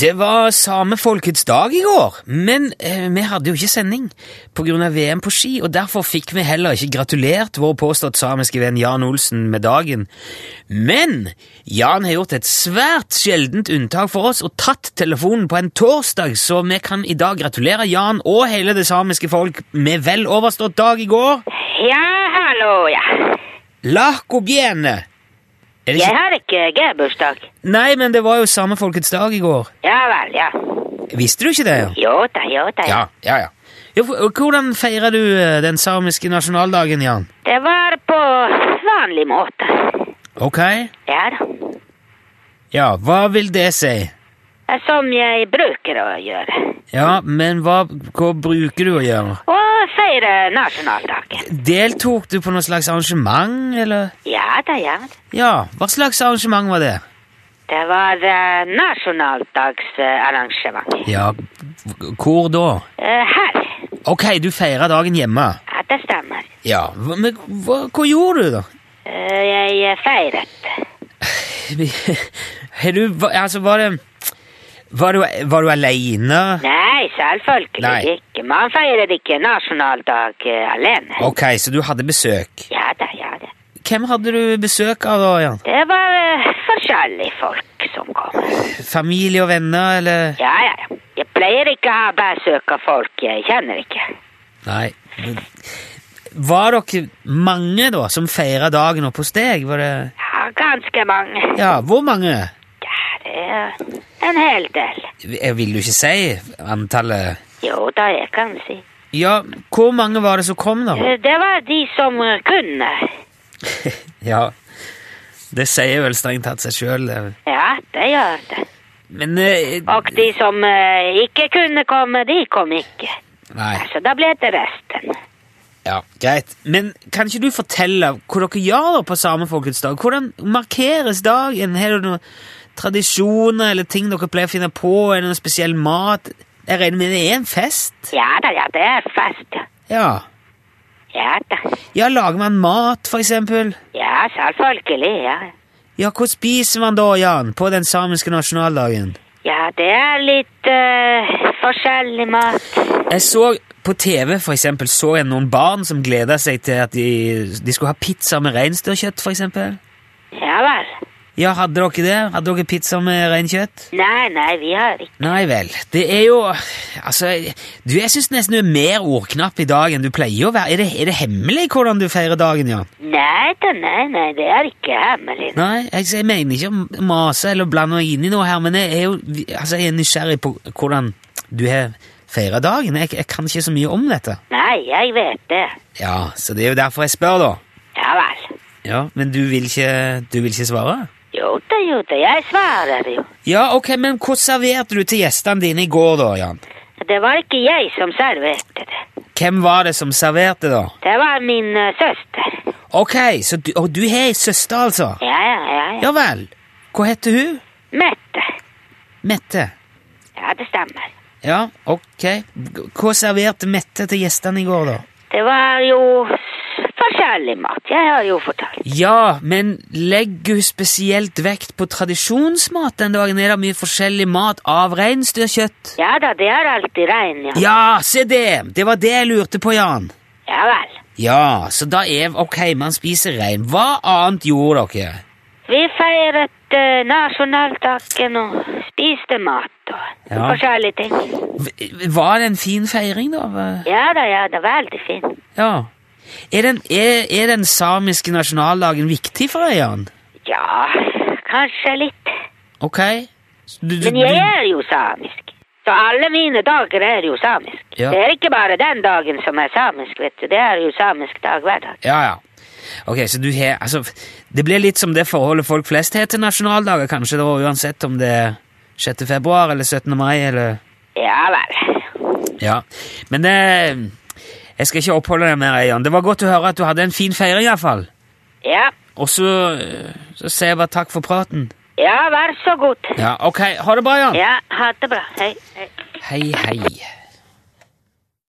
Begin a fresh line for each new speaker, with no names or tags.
Det var samefolkets dag i går, men eh, vi hadde jo ikke sending pga. VM på ski, og derfor fikk vi heller ikke gratulert vår påstått samiske venn Jan Olsen med dagen. Men Jan har gjort et svært sjeldent unntak for oss og tatt telefonen på en torsdag, så vi kan i dag gratulere Jan og hele det samiske folk med vel overstått dag i går.
Ja, hallo, ja.
Lahkobjene! Er det
Jeg
ikke?
har ikke G-bursdag.
Nei, men det var jo samefolkets dag i går.
Ja vel, ja.
Visste du ikke det? Ja?
Jo da, jo da.
Ja, ja, ja. Jo, for- og hvordan feirer du eh, den samiske nasjonaldagen, Jan?
Det var på vanlig måte.
Ok.
Ja da.
Ja, hva vil det si?
Det er Som jeg bruker å gjøre.
Ja, men hva, hva bruker du å gjøre?
Og feire nasjonaldagen.
Deltok du på noe slags arrangement, eller?
Ja da, ja. da.
Ja, hva slags arrangement var det?
Det var eh, nasjonaldagsarrangement.
Ja, h- hvor da?
Eh, Her.
Ok, du feirer dagen hjemme.
Ja, det stemmer.
Ja, hva- men hva, hva gjorde du da?
Eh, Jeg feiret.
Har du, hva- altså, var det... Var du, var du alene?
Nei, selvfølgelig
Nei.
ikke. Man feirer ikke nasjonaldag eh, alene.
Ok, så du hadde besøk.
Ja da, ja da.
Hvem hadde du besøk av da, Jan?
Det var eh, forskjellige folk som kom.
Familie og venner, eller?
Ja, ja, ja. Jeg pleier ikke å ha besøk av folk jeg kjenner ikke.
Nei. men- Var dere mange, da, som feira dagen oppe hos deg? Var det
Ja, ganske mange.
Ja, hvor mange?
Ja, det er en hel del.
Jeg vil jo ikke si antallet.
Jo da, jeg kan si.
Ja, hvor mange var det som kom, da?
Eh, Det var de som eh, kunne.
Ja, det sier vel strengt tatt seg sjøl.
Ja, det gjør det.
Men eh,
Og de som eh, ikke kunne komme, de kom ikke.
Nei.
Så da ble det resten.
Ja, greit. Men kan ikke du fortelle hva dere gjør da på Samefolkets dag? Hvordan markeres dagen? Har du noen tradisjoner eller ting dere pleier å finne på? Er det noen spesiell mat? Jeg regner med det er en fest?
Ja da, ja, det er fest.
Ja.
Ja da.
Ja, lager man mat, for eksempel?
Ja, selvfølgelig, ja.
Ja, hva spiser man da, Jan, på den samiske nasjonaldagen?
Ja, det er litt eh, forskjellig mat.
Jeg så på TV, for eksempel, så jeg noen barn som gleda seg til at de, de skulle ha pizza med reinsdyrkjøtt, for eksempel.
Ja vel.
Ja, hadde dere det? Hadde dere pizza med reinkjøtt?
Nei, nei, vi har ikke.
Nei vel. Det er jo Altså, du, jeg syns nesten du er mer ordknapp i dag enn du pleier å være. Er det, er det hemmelig hvordan du feirer dagen, Jan?
Nei da, nei, nei, det er ikke hemmelig.
Nei, jeg, jeg mener ikke å mase eller blande meg inn i noe her, men jeg er jo altså, jeg er nysgjerrig på hvordan du har feira dagen. Jeg, jeg kan ikke så mye om dette.
Nei, jeg vet det.
Ja, så det er jo derfor jeg spør, da.
Ja vel.
Ja, Men du vil ikke, du vil ikke svare?
Jo da, jo da, jeg svarer jo.
Ja, ok, men hva serverte du til gjestene dine i går, da, Jan?
Det var ikke jeg som serverte det.
Hvem var det som serverte, da?
Det var min eh, søster.
Ok, så du, og du har ei søster, altså?
Ja, ja, ja. ja.
Ja vel. Hva heter hun?
Mette.
Mette.
Ja, det stemmer.
Ja, ok. Hva serverte Mette til gjestene i går, da?
Det var jo s- forskjellig mat. Jeg har jo fortalt.
Ja, men legger hun spesielt vekt på tradisjonsmat den dagen? Er det mye forskjellig mat av reinsdyrkjøtt?
Ja da, det er alltid regn, ja.
Ja, se det! Det var det jeg lurte på, Jan.
Ja vel.
Ja, så da er Ok, man spiser rein. Hva annet gjorde dere?
Vi feiret eh, nasjonaldagen og spiste mat og
Ja.
forskjellige ting.
V- Var det en fin feiring, da? Hva-
Ja da, ja, det er veldig fint.
Ja. Er den, er, er den samiske nasjonaldagen viktig for deg, Jan?
Ja, kanskje litt.
Ok? Så du- du-
Men jeg er jo samisk. Så alle mine dager er jo samisk.
Ja.
Det er ikke bare den dagen som er samisk, vet du. Det er jo samisk dag hver dag.
Ja, ja. Ok, så du har Altså, det blir litt som det forholdet folk flest har til nasjonaldager, kanskje, da, uansett om det er 6. februar eller 17. mai eller
Ja vel.
Ja. Men eh, jeg skal ikke oppholde deg mer, Jan. Det var godt å høre at du hadde en fin feiring, iallfall.
Ja.
Og så eh, så sier jeg bare takk for praten.
Ja, vær så god.
Ja, ok. Ha det bra, Jan.
Ja, ha det bra. Hei. Hei.
Hei, hei.